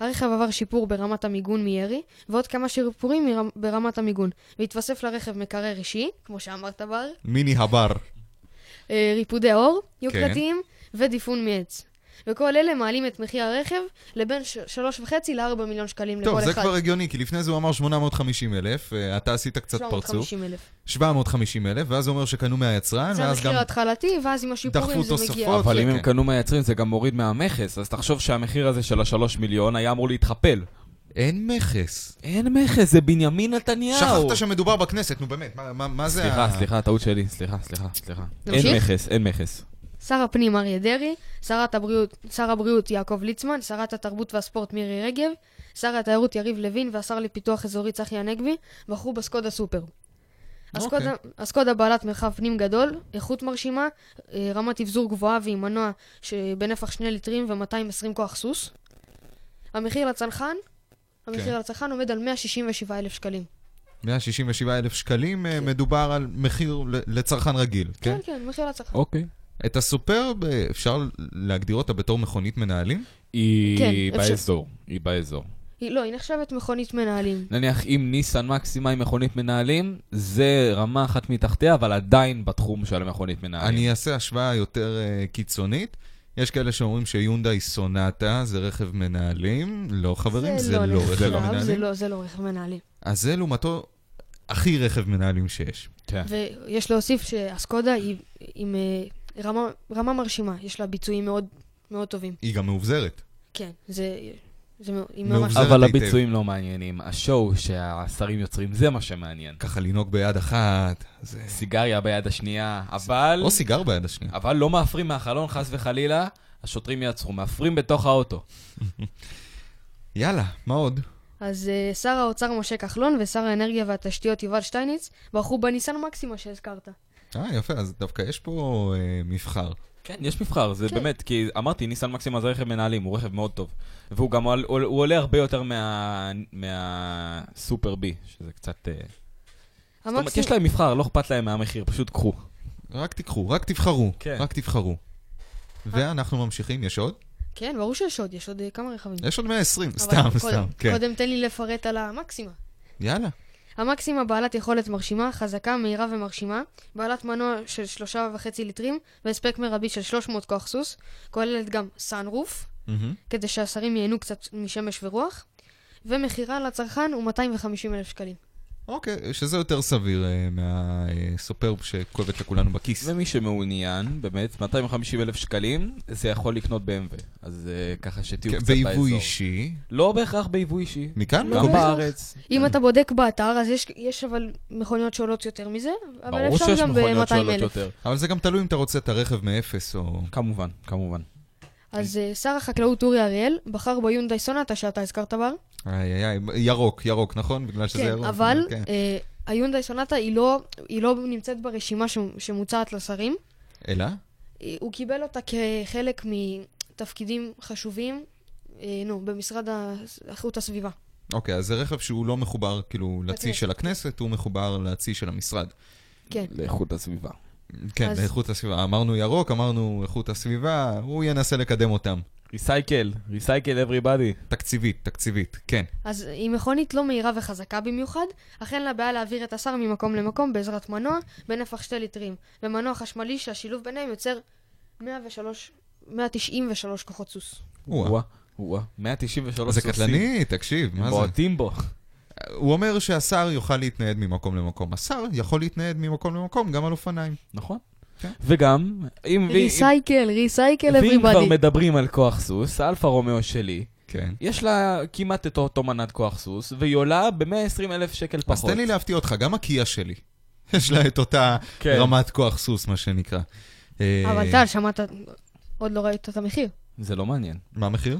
D: הרכב עבר שיפור ברמת המיגון מירי, ועוד כמה שיפורים מרמ- ברמת המיגון, והתווסף לרכב מקרר אישי, כמו שאמרת בר,
A: מיני הבר.
D: אה, ריפודי עור יוקרתיים,
A: כן.
D: ודיפון מעץ. וכל אלה מעלים את מחיר הרכב לבין 3.5 ל-4 מיליון שקלים
A: טוב,
D: לכל
A: זה
D: אחד.
A: כבר הגיוני, כי לפני זה הוא אמר 850 אלף, אה, אתה עשית קצת פרצוף.
D: 750 אלף.
A: 750 אלף, ואז הוא אומר שקנו מהיצרן,
D: זה
A: ואז
D: המחיר
A: כן, גם...
D: ההתחלתי, ואז עם השיפורים
A: דחפו
D: זה מגיע.
A: תוספות.
B: אבל
A: זה
B: אם הם
A: כן.
B: קנו מהיצרים זה גם מוריד מהמכס, אז תחשוב שהמחיר הזה של השלוש מיליון היה אמור להתכפל.
A: אין מכס.
B: אין מכס, זה בנימין נתניהו.
A: שכחת שמדובר בכנסת, נו באמת, מה- מה מה זה
B: סליחה, סליחה, טעות שלי, סליחה, סליחה, סליחה. אין
D: נמשיך?
B: מכס, אין מכס.
D: שר הפנים אריה דרעי, שרת הבריאות, שר הבריאות יעקב ליצמן, שרת התרבות והספורט מירי רגב, שר התיירות יריב לוין והשר לפיתוח אזורי צחי הנגבי בחרו בסקודה סופר.
A: אוקיי.
D: הסקודה, הסקודה בעלת מרחב פנים גדול, איכות מרשימה, אה, רמת אבזור גבוהה ועם מנוע שבנפח שני ליטרים ו-220 כוח סוס. המחיר לצרכן, המחיר
A: כן.
D: לצרכן עומד על 167,000 שקלים.
A: 167 אלף שקלים, אה, מדובר על מחיר ל- לצרכן רגיל, כן?
D: כן, כן, מחיר לצרכן.
B: אוקיי.
A: את הסופר, אה, אפשר להגדיר אותה בתור מכונית מנהלים?
B: היא
D: כן, אפשר-
B: באזור, היא באזור.
D: היא, לא, היא נחשבת מכונית מנהלים.
B: נניח אם ניסן מקסימה היא מכונית מנהלים, זה רמה אחת מתחתיה, אבל עדיין בתחום של המכונית מנהלים.
A: אני אעשה השוואה יותר אה, קיצונית. יש כאלה שאומרים שיונדאי סונטה זה רכב מנהלים. לא, חברים, זה לא
D: נחשב,
A: רכב
D: זה
A: מנהלים.
D: לא, זה לא רכב מנהלים.
A: אז זה לעומתו הכי רכב מנהלים שיש.
B: כן.
D: ויש להוסיף שהסקודה היא עם אה, רמה, רמה מרשימה, יש לה ביצועים מאוד מאוד טובים.
A: היא גם מאובזרת.
D: כן, זה, זה מאו- היא
A: מאובזרת.
D: ממש...
A: חוזרת
B: אבל
A: היטב.
B: הביצועים לא מעניינים, השואו שהשרים יוצרים זה מה שמעניין.
A: ככה לנהוג ביד אחת, זה...
B: סיגריה ביד השנייה, אבל...
A: או סיגר ביד השנייה.
B: אבל לא מאפרים מהחלון, חס וחלילה, השוטרים יעצרו, מאפרים בתוך האוטו.
A: יאללה, מה עוד?
D: אז אה, שר האוצר משה כחלון ושר האנרגיה והתשתיות יובל שטייניץ ברחו בניסן מקסימה שהזכרת.
A: אה, יפה, אז דווקא יש פה אה, מבחר.
B: כן, יש מבחר, זה
D: כן.
B: באמת, כי אמרתי, ניסן מקסימה זה רכב מנהלים, הוא רכב מאוד טוב. והוא גם עול- עול- הוא עולה הרבה יותר מה- מהסופר בי, שזה קצת... אה, זאת אומרת,
D: המקסימ-
B: יש להם מבחר, לא אכפת להם מהמחיר, פשוט קחו.
A: רק תיקחו, רק תבחרו.
B: כן.
A: רק תבחרו. ואנחנו ממשיכים, יש עוד?
D: כן, ברור שיש עוד, יש עוד אה, כמה רכבים.
A: יש עוד 120,
D: אבל
A: סתם,
D: קודם-
A: סתם. כן.
D: קודם תן לי לפרט על המקסימה.
A: יאללה.
D: המקסימה בעלת יכולת מרשימה, חזקה, מהירה ומרשימה, בעלת מנוע של שלושה וחצי ליטרים והספק מרבי של 300 כוח סוס, כוללת גם סאנרוף,
A: מהמם.
D: כדי שהשרים ייהנו קצת משמש ורוח, ומחירה לצרכן הוא 250 אלף שקלים.
A: אוקיי, שזה יותר סביר מהסופרב שכואבת לכולנו בכיס.
B: ומי שמעוניין, באמת, 250 אלף שקלים, זה יכול לקנות BMW. אז אה, ככה שתהיו
A: כן,
B: קצת באזור.
A: ביבוא אישי,
B: לא בהכרח ביבוא אישי.
A: מכאן?
D: לא
B: גם
A: מקומי.
D: בהכרח.
B: בארץ.
D: אם אתה בודק באתר, אז יש, יש אבל מכוניות שעולות יותר מזה, אבל
B: ברור
D: אפשר
B: שיש
D: גם
B: מכוניות
D: ב-200
B: שעולות
D: אלף.
B: יותר.
A: אבל זה גם תלוי אם אתה רוצה את הרכב מאפס או...
B: כמובן, כמובן.
D: אז אה, שר החקלאות אורי אריאל בחר ביונדאי סונטה שאתה הזכרת בר.
A: איי איי איי, ירוק, ירוק, נכון? בגלל שזה
D: כן,
A: ירוק.
D: אבל
A: כן.
D: אה, היונדאי סונטה היא לא, היא לא נמצאת ברשימה ש- שמוצעת לשרים.
A: אלא?
D: אה, הוא קיבל אותה כחלק מתפקידים חשובים, אה, נו, במשרד ה- איכות הסביבה.
A: אוקיי, אז זה רכב שהוא לא מחובר כאילו לצי
D: לכנסת.
A: של הכנסת, הוא מחובר לצי של המשרד.
D: כן.
B: לאיכות הסביבה.
A: כן,
D: אז-
A: לאיכות הסביבה. אמרנו ירוק, אמרנו איכות הסביבה, הוא ינסה לקדם אותם.
B: ריסייקל, ריסייקל אבריבאדי.
A: תקציבית, תקציבית, כן.
D: אז היא מכונית לא מהירה וחזקה במיוחד, אך אין לה בעיה להעביר את השר ממקום למקום בעזרת מנוע בנפח שתי ליטרים, ומנוע חשמלי שהשילוב ביניהם יוצר 103, 193 כוחות סוס.
A: וואו.
B: וואו. 193
A: זה
B: סוסים.
A: קטלני, תקשיב,
B: הם
A: מה זה?
B: בועטים בו.
A: הוא אומר שהשר יוכל להתנייד ממקום למקום. השר יכול להתנייד ממקום למקום גם על אופניים.
B: נכון.
A: כן.
B: וגם, אם...
D: ריסייקל, ריסייקל
B: ואם כבר
D: אבריבאדי.
B: מדברים על כוח סוס, אלפה רומאו שלי,
A: כן.
B: יש לה כמעט את אותו מנת כוח סוס, והיא עולה ב-120 אלף שקל פחות.
A: אז תן לי להפתיע אותך, גם הקיה שלי. יש לה את אותה
B: כן.
A: רמת כוח סוס, מה שנקרא. אה,
D: אבל טל, שמעת, עוד לא ראית את המחיר.
B: זה לא מעניין.
A: מה המחיר?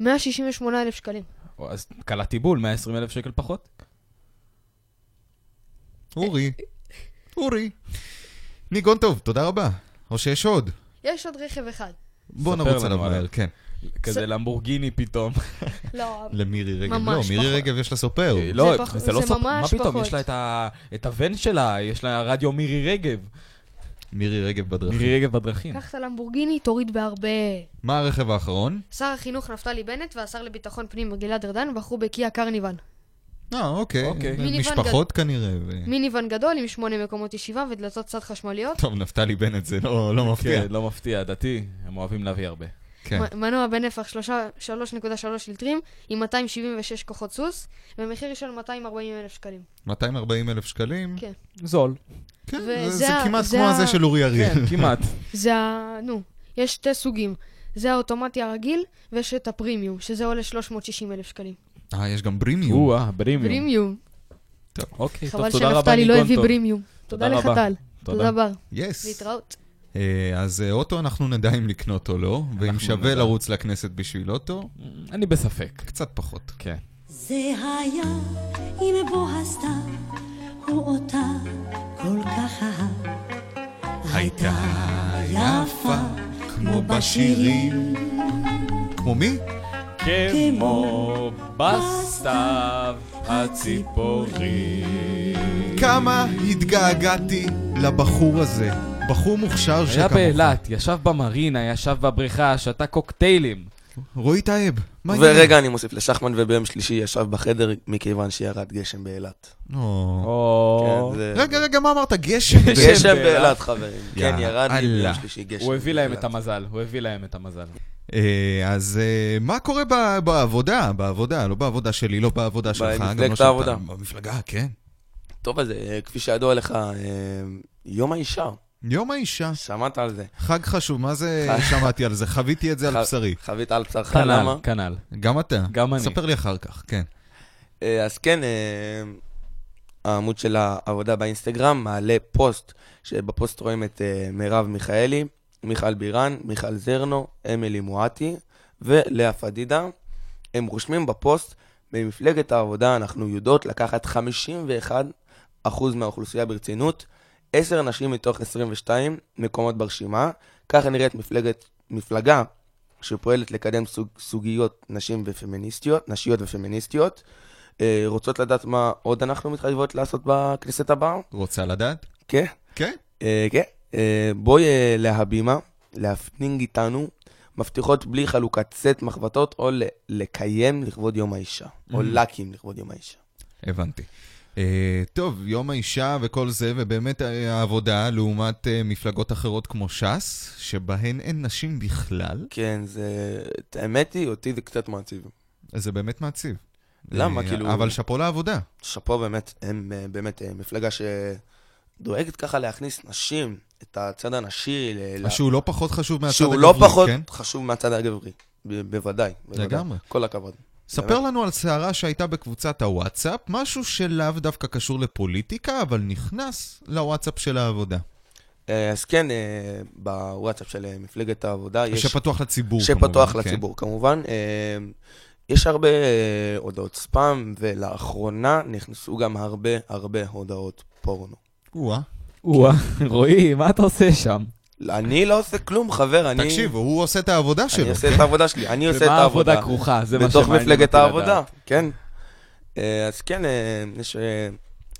D: 168 אלף שקלים.
B: או, אז קלעתי בול, 120 אלף שקל פחות.
A: אורי. אורי. ניגון טוב, תודה רבה. או שיש עוד.
D: יש עוד רכב אחד.
A: בוא
B: ספר
A: נרוץ
B: לנו
A: עליו מהר,
B: עליו.
A: כן.
B: כזה לממבורגיני פתאום. כן.
D: לא,
A: למירי רגב.
D: ממש
A: לא, מירי
D: פחות.
A: רגב יש לה סופר.
B: לא,
D: פח-
B: זה לא
D: זה
B: סופר. מה
D: ממש
B: פתאום,
D: פחות.
B: יש לה את ה- את הוון שלה, יש לה רדיו מירי רגב.
A: מירי רגב בדרכים.
B: מירי רגב בדרכים.
D: קח את הלמבורגיני, תוריד בהרבה.
A: מה הרכב האחרון?
D: שר החינוך נפתלי בנט והשר לביטחון פנים גלעד ארדן בחרו בקיה קרניבן.
B: כן.
A: אה, אוקיי.
B: אוקיי.
D: מיניוון
A: משפחות כנראה. ו-
D: מיניוון גדול עם שמונה מקומות ישיבה ודלתות צד חשמליות.
A: טוב, נפתלי בנט זה לא לא מפתיע.
B: כן, לא מפתיע, דתי, הם אוהבים להביא הרבה.
A: כן.
D: מ- מנוע בנפח שלושה- 3.3 ליטרים עם 276 כוחות סוס ומחיר של 240 אלף שקלים.
A: 240 אלף שקלים.
D: כן.
B: זול.
A: כן,
D: וזה
A: זה- זה
D: ה-
A: כמעט
D: זה
A: כמו
D: ה-
A: הזה של אורי
B: כן,
A: אריאל.
B: כמעט.
D: זה ה... נו, יש שתי סוגים. זה האוטומטי הרגיל ויש את הפרימיום, שזה עולה 360 אלף שקלים.
A: אה, יש גם ברימיום.
B: או-אה, ברימיום.
D: פרימיום.
B: אוקיי,
D: חבל
B: טוב, תודה רבה,
D: שנפתלי לא
B: ניגון
D: הביא
B: טוב.
D: ברימיום. תודה לך
B: רבה.
D: טל.
B: תודה.
D: תודה בר.
A: יס.
D: להתראות.
A: אה, אז אה, אוטו אנחנו נדע אם לקנות או לא, ואם
B: אנחנו
A: שווה
B: נדע.
A: לרוץ לכנסת בשביל אוטו,
B: אני בספק.
A: קצת פחות.
B: כן.
E: זה היה עם בוא הסתיו, הוא אותה כל כך אהב.
A: הייתה
E: יפה כמו בשירים.
A: כמו מי?
B: כמו בסתיו הציפורים.
A: כמה התגעגעתי לבחור הזה. בחור מוכשר
B: היה
A: שכמוך.
B: באילת, ישב במרינה, ישב בבריכה, שתה קוקטיילים.
F: כן,
A: רועי טייב. מה העניינים?
F: ורגע, אני מוסיף לשחמן, וביום שלישי ישב בחדר מכיוון שירד גשם באילת.
A: או.
B: או...
F: כן, זה-
A: לא. רגע, רגע, מה אמרת? גשם?
B: גשם.
F: גשם
B: באילת,
F: באילת, חברים. כן, ירד לי
A: אללה.
F: ביום שלישי גשם.
B: הוא הביא להם את
F: באילת.
B: המזל, הוא הביא להם את המזל.
A: אה, אז אה, מה קורה ב- בעבודה? בעבודה, לא בעבודה שלי, לא בעבודה שלך. גם לא
F: במפלגת
A: של
F: העבודה.
A: טל. במפלגה, כן.
F: טוב, אז אה, כפי שידוע לך, אה, יום האישה,
A: יום האישה,
F: שמעת על זה.
A: חג חשוב, מה זה שמעתי על זה? חוויתי את זה על
F: ח-
A: בשרי.
F: חבית על בשרך,
B: כנ"ל,
F: למה?
B: כנ"ל.
A: גם אתה.
B: גם אני.
A: ספר לי אחר כך, כן.
F: אה, אז כן, אה, העמוד של העבודה באינסטגרם מעלה פוסט, שבפוסט רואים את אה, מרב מיכאלי, מיכל בירן, מיכל זרנו, אמילי מואטי ולאה פדידה. הם רושמים בפוסט, במפלגת העבודה אנחנו יודעות לקחת 51% מהאוכלוסייה ברצינות, 10 נשים מתוך 22 מקומות ברשימה. ככה נראית מפלגת, מפלגה שפועלת לקדם סוג, סוגיות נשים ופמיניסטיות, נשיות ופמיניסטיות. אה, רוצות לדעת מה עוד אנחנו מתחייבות לעשות בכנסת הבאה?
A: רוצה לדעת?
F: כן.
A: כן.
F: אה, כן. אה, בואי אה, להבימה, להפנינג איתנו, מבטיחות בלי חלוקת סט מחבטות, או ל- לקיים לכבוד יום האישה, או לקים לכבוד יום האישה.
A: הבנתי. אה, טוב, יום האישה וכל זה, ובאמת אה, העבודה לעומת אה, מפלגות אחרות כמו ש"ס, שבהן אין נשים בכלל,
F: כן, זה... את האמת היא, אותי זה קצת מעציב.
A: זה באמת מעציב.
F: למה?
A: אה,
F: כאילו-
A: אבל שאפו לעבודה.
F: שאפו באמת, הם אה, באמת אה, מפלגה שדואגת ככה להכניס נשים, את הצד הנשי, ל- ל-
A: שהוא לא פחות חשוב מהצד
F: שהוא
A: הגברי,
F: לא פחות
A: כן?
F: חשוב מהצד הגברי. ב- בוודאי, בוודאי.
A: לגמרי.
F: כל הכבוד.
A: ספר לנו על סערה שהייתה בקבוצת הוואטסאפ, משהו שלאו דווקא קשור לפוליטיקה, אבל נכנס לוואטסאפ של העבודה.
F: אה, אז כן, אה, בוואטסאפ של אה, מפלגת העבודה יש...
A: שפתוח לציבור, כמובן.
F: שפתוח
A: כן.
F: לציבור, כמובן. אה, יש הרבה אה, הודעות ספאם, ולאחרונה נכנסו גם הרבה הרבה הודעות פורנו.
A: או-אה.
B: או-אה, רועי, מה אתה עושה שם?
F: אני לא עושה כלום, חבר, אני...
A: תקשיב, הוא עושה את העבודה שלו.
F: אני עושה את העבודה שלי, אני עושה את
B: ומה
F: העבודה.
B: העבודה כרוכה? זה מה
F: בתוך
B: שמעניין
F: מפלגת
B: אותי
F: העבודה,
B: לדעת.
F: כן. אה, אז כן, אה, יש אה,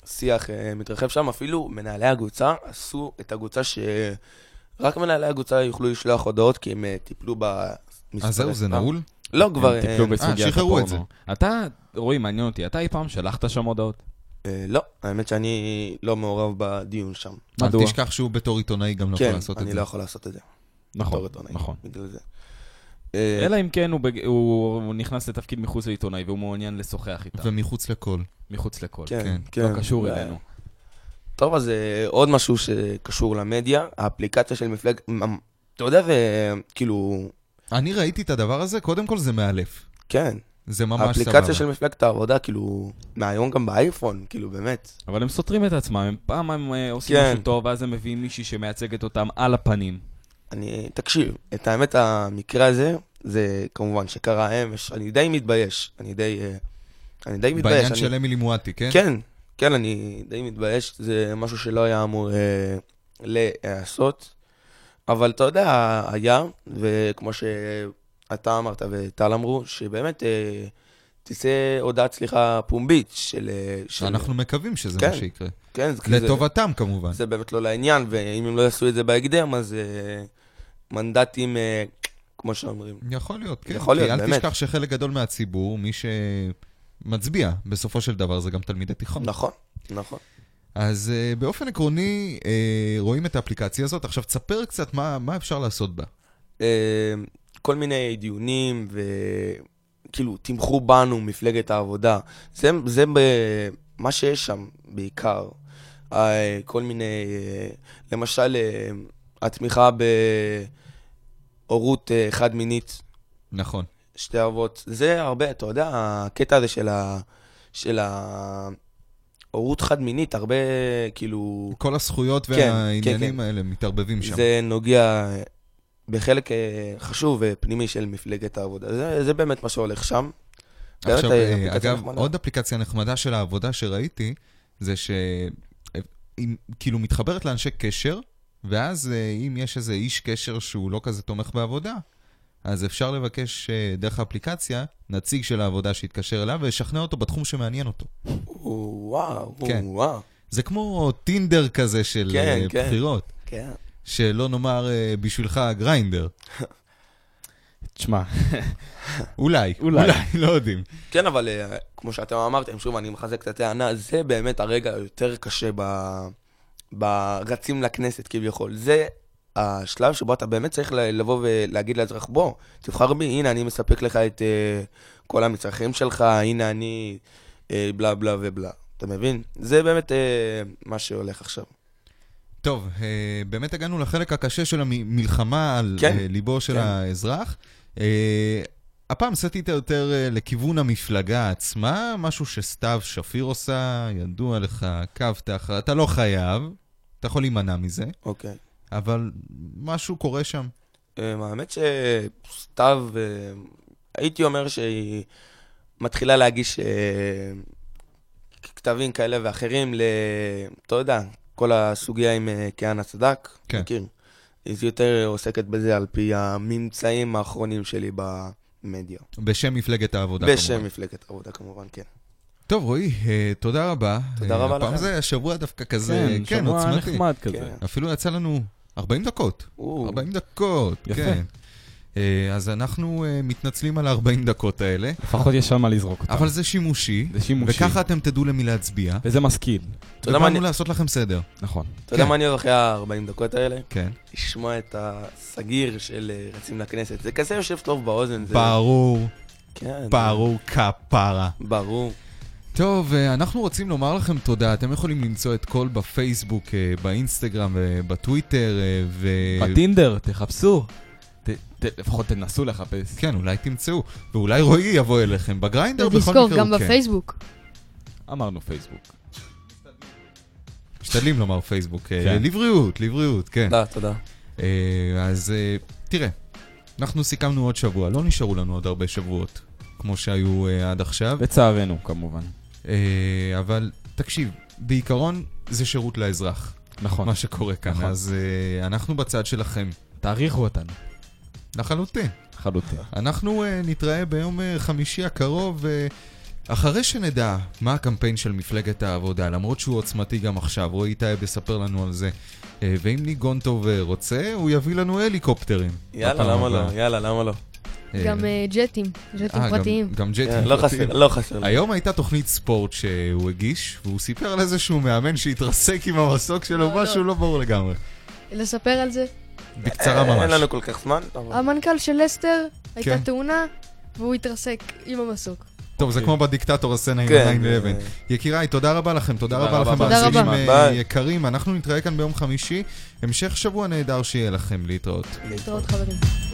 F: שיח אה, מתרחב שם, אפילו מנהלי הקבוצה עשו את הקבוצה שרק מנהלי הקבוצה יוכלו לשלוח הודעות, כי הם אה, טיפלו מספרי
A: אז זהו, זה
F: ספאם.
A: נעול?
F: לא, כבר...
B: הם
F: אה,
B: טיפלו בסוגיית
A: שחררו את
B: הפורנו. אתה, רועי, מעניין אותי, אתה אי פעם שלחת שם הודעות?
F: אה, לא, האמת שאני לא מעורב בדיון שם.
B: מדוע?
A: אל תשכח שהוא בתור עיתונאי גם לא יכול
F: כן,
A: לעשות את
F: אני
A: זה.
F: לא יכול לעשות את זה. בתור
B: נכון,
F: עיתונאי,
B: נכון.
F: בגלל זה. אה,
B: אלא אם כן הוא בג- הוא הוא נכנס לתפקיד מחוץ לעיתונאי והוא מעוניין לשוחח איתה,
A: ומחוץ לכל.
B: מחוץ לכל.
A: כן,
F: כן, כן.
B: לא קשור
F: אה,
B: אלינו.
F: טוב, אז אה, עוד משהו שקשור למדיה, האפליקציה של מפלגת... מ- אתה יודע, זה כאילו...
A: אני ראיתי את הדבר הזה, קודם כל זה מאלף.
F: כן,
A: זה ממש סבבה.
F: האפליקציה של מפלגת העבודה, כאילו, מהיום גם באייפון, כאילו, באמת.
B: אבל הם סותרים את עצמם, הם פעם הם אה, עושים
F: כן.
B: משהו טוב, ואז הם מביאים מישהי שמייצגת אותם על הפנים.
F: אני, תקשיב, את האמת, המקרה הזה, זה כמובן שקרה אמש, אני די מתבייש, אני די, אה, אני די מתבייש.
A: בעניין
F: אני,
A: של אמילי מואטי, כן?
F: כן, כן, אני די מתבייש, זה משהו שלא היה אמור אה, להיעשות, אבל אתה יודע, היה, וכמו שאתה אמרת וטל אמרו, שבאמת אה, תצא הודעת סליחה פומבית של... אה, של
A: שאנחנו מקווים שזה
F: כן.
A: מה שיקרה.
F: כן, זה- כי זה-
A: לטובתם כמובן.
F: זה באמת לא לעניין, ואם הם לא יעשו את זה בהקדם, אז אה, מנדטים, אה, כמו שאומרים.
A: יכול להיות, כן.
F: יכול להיות,
A: כי אל
F: באמת.
A: תשכח שחלק גדול מהציבור, מי שמצביע, בסופו של דבר זה גם תלמידי תיכון.
F: נכון, נכון.
A: אז אה, באופן עקרוני, אה, רואים את האפליקציה הזאת. עכשיו, תספר קצת מה מה אפשר לעשות בה.
F: אה, כל מיני דיונים, וכאילו, תמכו בנו, מפלגת העבודה. זה, זה ב... מה שיש שם, בעיקר. אה, כל מיני, אה, למשל, אה, התמיכה בהורות אה, חד-מינית.
A: נכון.
F: שתי אבות. זה הרבה, אתה יודע, הקטע הזה של ה... של ה... הורות חד-מינית, הרבה, כאילו,
A: כל הזכויות
F: כן,
A: והעניינים
F: כן.
A: האלה מתערבבים שם.
F: זה נוגע בחלק אה, חשוב ופנימי של מפלגת העבודה. זה, זה באמת מה שהולך שם. באמת,
A: עכשיו,
F: אה,
A: אה,
F: אפליקציה
A: אגב,
F: נחמדה.
A: עוד אפליקציה נחמדה של העבודה שראיתי, זה שהיא כאילו מתחברת לאנשי קשר, ואז אה, אם יש איזה איש קשר שהוא לא כזה תומך בעבודה, אז אפשר לבקש אה, דרך האפליקציה נציג של העבודה שיתקשר אליו וישכנע אותו בתחום שמעניין אותו.
F: וואו,
A: כן.
F: וואו.
A: זה כמו טינדר כזה של
F: כן,
A: אה,
F: כן.
A: בחירות,
F: כן.
A: שלא נאמר אה, בשבילך גריינדר.
B: תשמע,
A: אולי,
B: אולי.
A: לא יודעים.
F: כן, אבל אה, כמו שאתם אמרתם, שוב, אני מחזק את הטענה, זה באמת הרגע היותר קשה ב... ברצים לכנסת כביכול. זה השלב שבו אתה באמת צריך ל- לבוא ולהגיד לאזרח, בוא, תבחר בי, הנה, אני מספק לך את אה, כל המצרכים שלך, הנה אני אה, בלה בלה ובלה. אתה מבין? זה באמת אה, מה שהולך עכשיו.
A: טוב, אה, באמת הגענו לחלק הקשה של המלחמה על
F: כן.
A: אה, ליבו של
F: כן.
A: האזרח. אה, הפעם סטיתי יותר אה, לכיוון המפלגה עצמה, משהו שסתיו שפיר עושה, ידוע לך, קו תחת, אתה לא חייב, אתה יכול להימנע מזה,
F: אוקיי.
A: אבל משהו קורה שם.
F: אה, האמת שסתיו, אה, הייתי אומר שהיא מתחילה להגיש אה, כתבים כאלה ואחרים ל... אתה יודע, כל הסוגיה עם אה, כהנא צדק.
A: כן.
F: מכיר. אז היא יותר עוסקת בזה על פי הממצאים האחרונים שלי במדיה.
A: בשם מפלגת העבודה,
F: בשם
A: כמובן.
F: מפלגת העבודה כמובן, כן.
A: טוב, רועי, אה, תודה רבה.
F: תודה
A: אה,
F: רבה
A: הפעם
F: לכם.
A: זה השבוע דווקא כזה,
B: כן,
A: כן,
B: שבוע
A: עוצמתי.
B: נחמד כזה.
F: כן.
A: אפילו יצא לנו 40 דקות.
F: או,
A: 40 דקות,
B: יפה.
A: כן. אה, אז אנחנו אה, מתנצלים על ה-40 דקות האלה,
B: לפחות יש שם מה לזרוק אותם.
A: אבל זה שימושי,
B: זה שימושי.
A: וככה אתם תדעו למי להצביע.
B: וזה משכיל.
F: אתה יודע מה
A: ובאנו
F: אני-
A: לעשות לכם סדר.
B: נכון.
F: אתה יודע
A: כן.
F: מה אני אוהב אחרי ה-40 דקות האלה?
A: כן.
F: לשמוע את הסגיר של אה, רצים לכנסת. זה כזה יושב טוב באוזן. זה-
A: ברור,
F: כן.
A: ברור כפרה.
F: ברור.
A: טוב, אה, אנחנו רוצים לומר לכם תודה. אתם יכולים למצוא את כל בפייסבוק, אה, באינסטגרם ובטוויטר, אה, ו...
B: בטינדר, תחפשו. ת- ת- לפחות תנסו לחפש.
A: כן, אולי תמצאו. ואולי רועי יבוא אליכם בגריינדר, בכל מקרה
D: ותזכור,
A: הוא
D: גם
A: כן.
D: בפייסבוק.
B: אמרנו פייסבוק.
A: משתדלים לומר פייסבוק. אה,
B: כן.
A: לבריאות, לבריאות, כן.
D: לא,
F: תודה, לא, תודה.
A: אה, אז אה, תראה, אנחנו סיכמנו עוד שבוע, לא נשארו לנו עוד הרבה שבועות, כמו שהיו אה, עד עכשיו,
B: לצערנו, כמובן.
A: אה, אבל תקשיב, בעיקרון זה שירות לאזרח,
B: נכון.
A: מה שקורה כאן,
B: נכון.
A: אז אה, אנחנו בצד שלכם,
B: תעריכו אותנו.
A: לחלוטין.
B: חלוטין.
A: אנחנו אה, נתראה ביום אה, חמישי הקרוב, אה, אחרי שנדע מה הקמפיין של מפלגת העבודה, למרות שהוא עוצמתי גם עכשיו, רועי טייב יספר לנו על זה. אה, ואם ניק גונטוב אה, רוצה, הוא יביא לנו הליקופטרים.
F: יאללה,
A: בפעם
F: למה
A: הבאה.
F: לא? יאללה, למה לא?
D: גם אה, ג'טים, ג'טים
A: אה, גם-
D: פרטיים.
A: גם
F: כן,
A: ג'טים
F: לא
A: פרטיים.
F: חסר, לא חסר. לי.
A: היום הייתה תוכנית ספורט שהוא הגיש, והוא סיפר על איזשהו מאמן שהתרסק עם המסוק שלו,
D: לא,
A: משהו לא ברור לגמרי.
D: לספר על זה.
A: בקצרה
F: אה, אין לנו
A: לא ממש.
F: כל כך זמן. אבל-
D: המנכ"ל של לסטר, הייתה
A: כן.
D: תאונה, והוא התרסק עם המסוק.
A: טוב, זה כמו בדיקטטור הסצנה עם
F: כן,
A: 9-11. יקיריי, תודה רבה לכם, תודה
B: תודה
A: רבה
B: רבה.
A: לכם,
B: תודה
A: מאזינים
D: רבה.
A: אה,
F: ביי.
A: יקרים. אנחנו נתראה כאן ביום חמישי. המשך שבוע נהדר שיהיה לכם, להתראות.
D: להתראות חברים.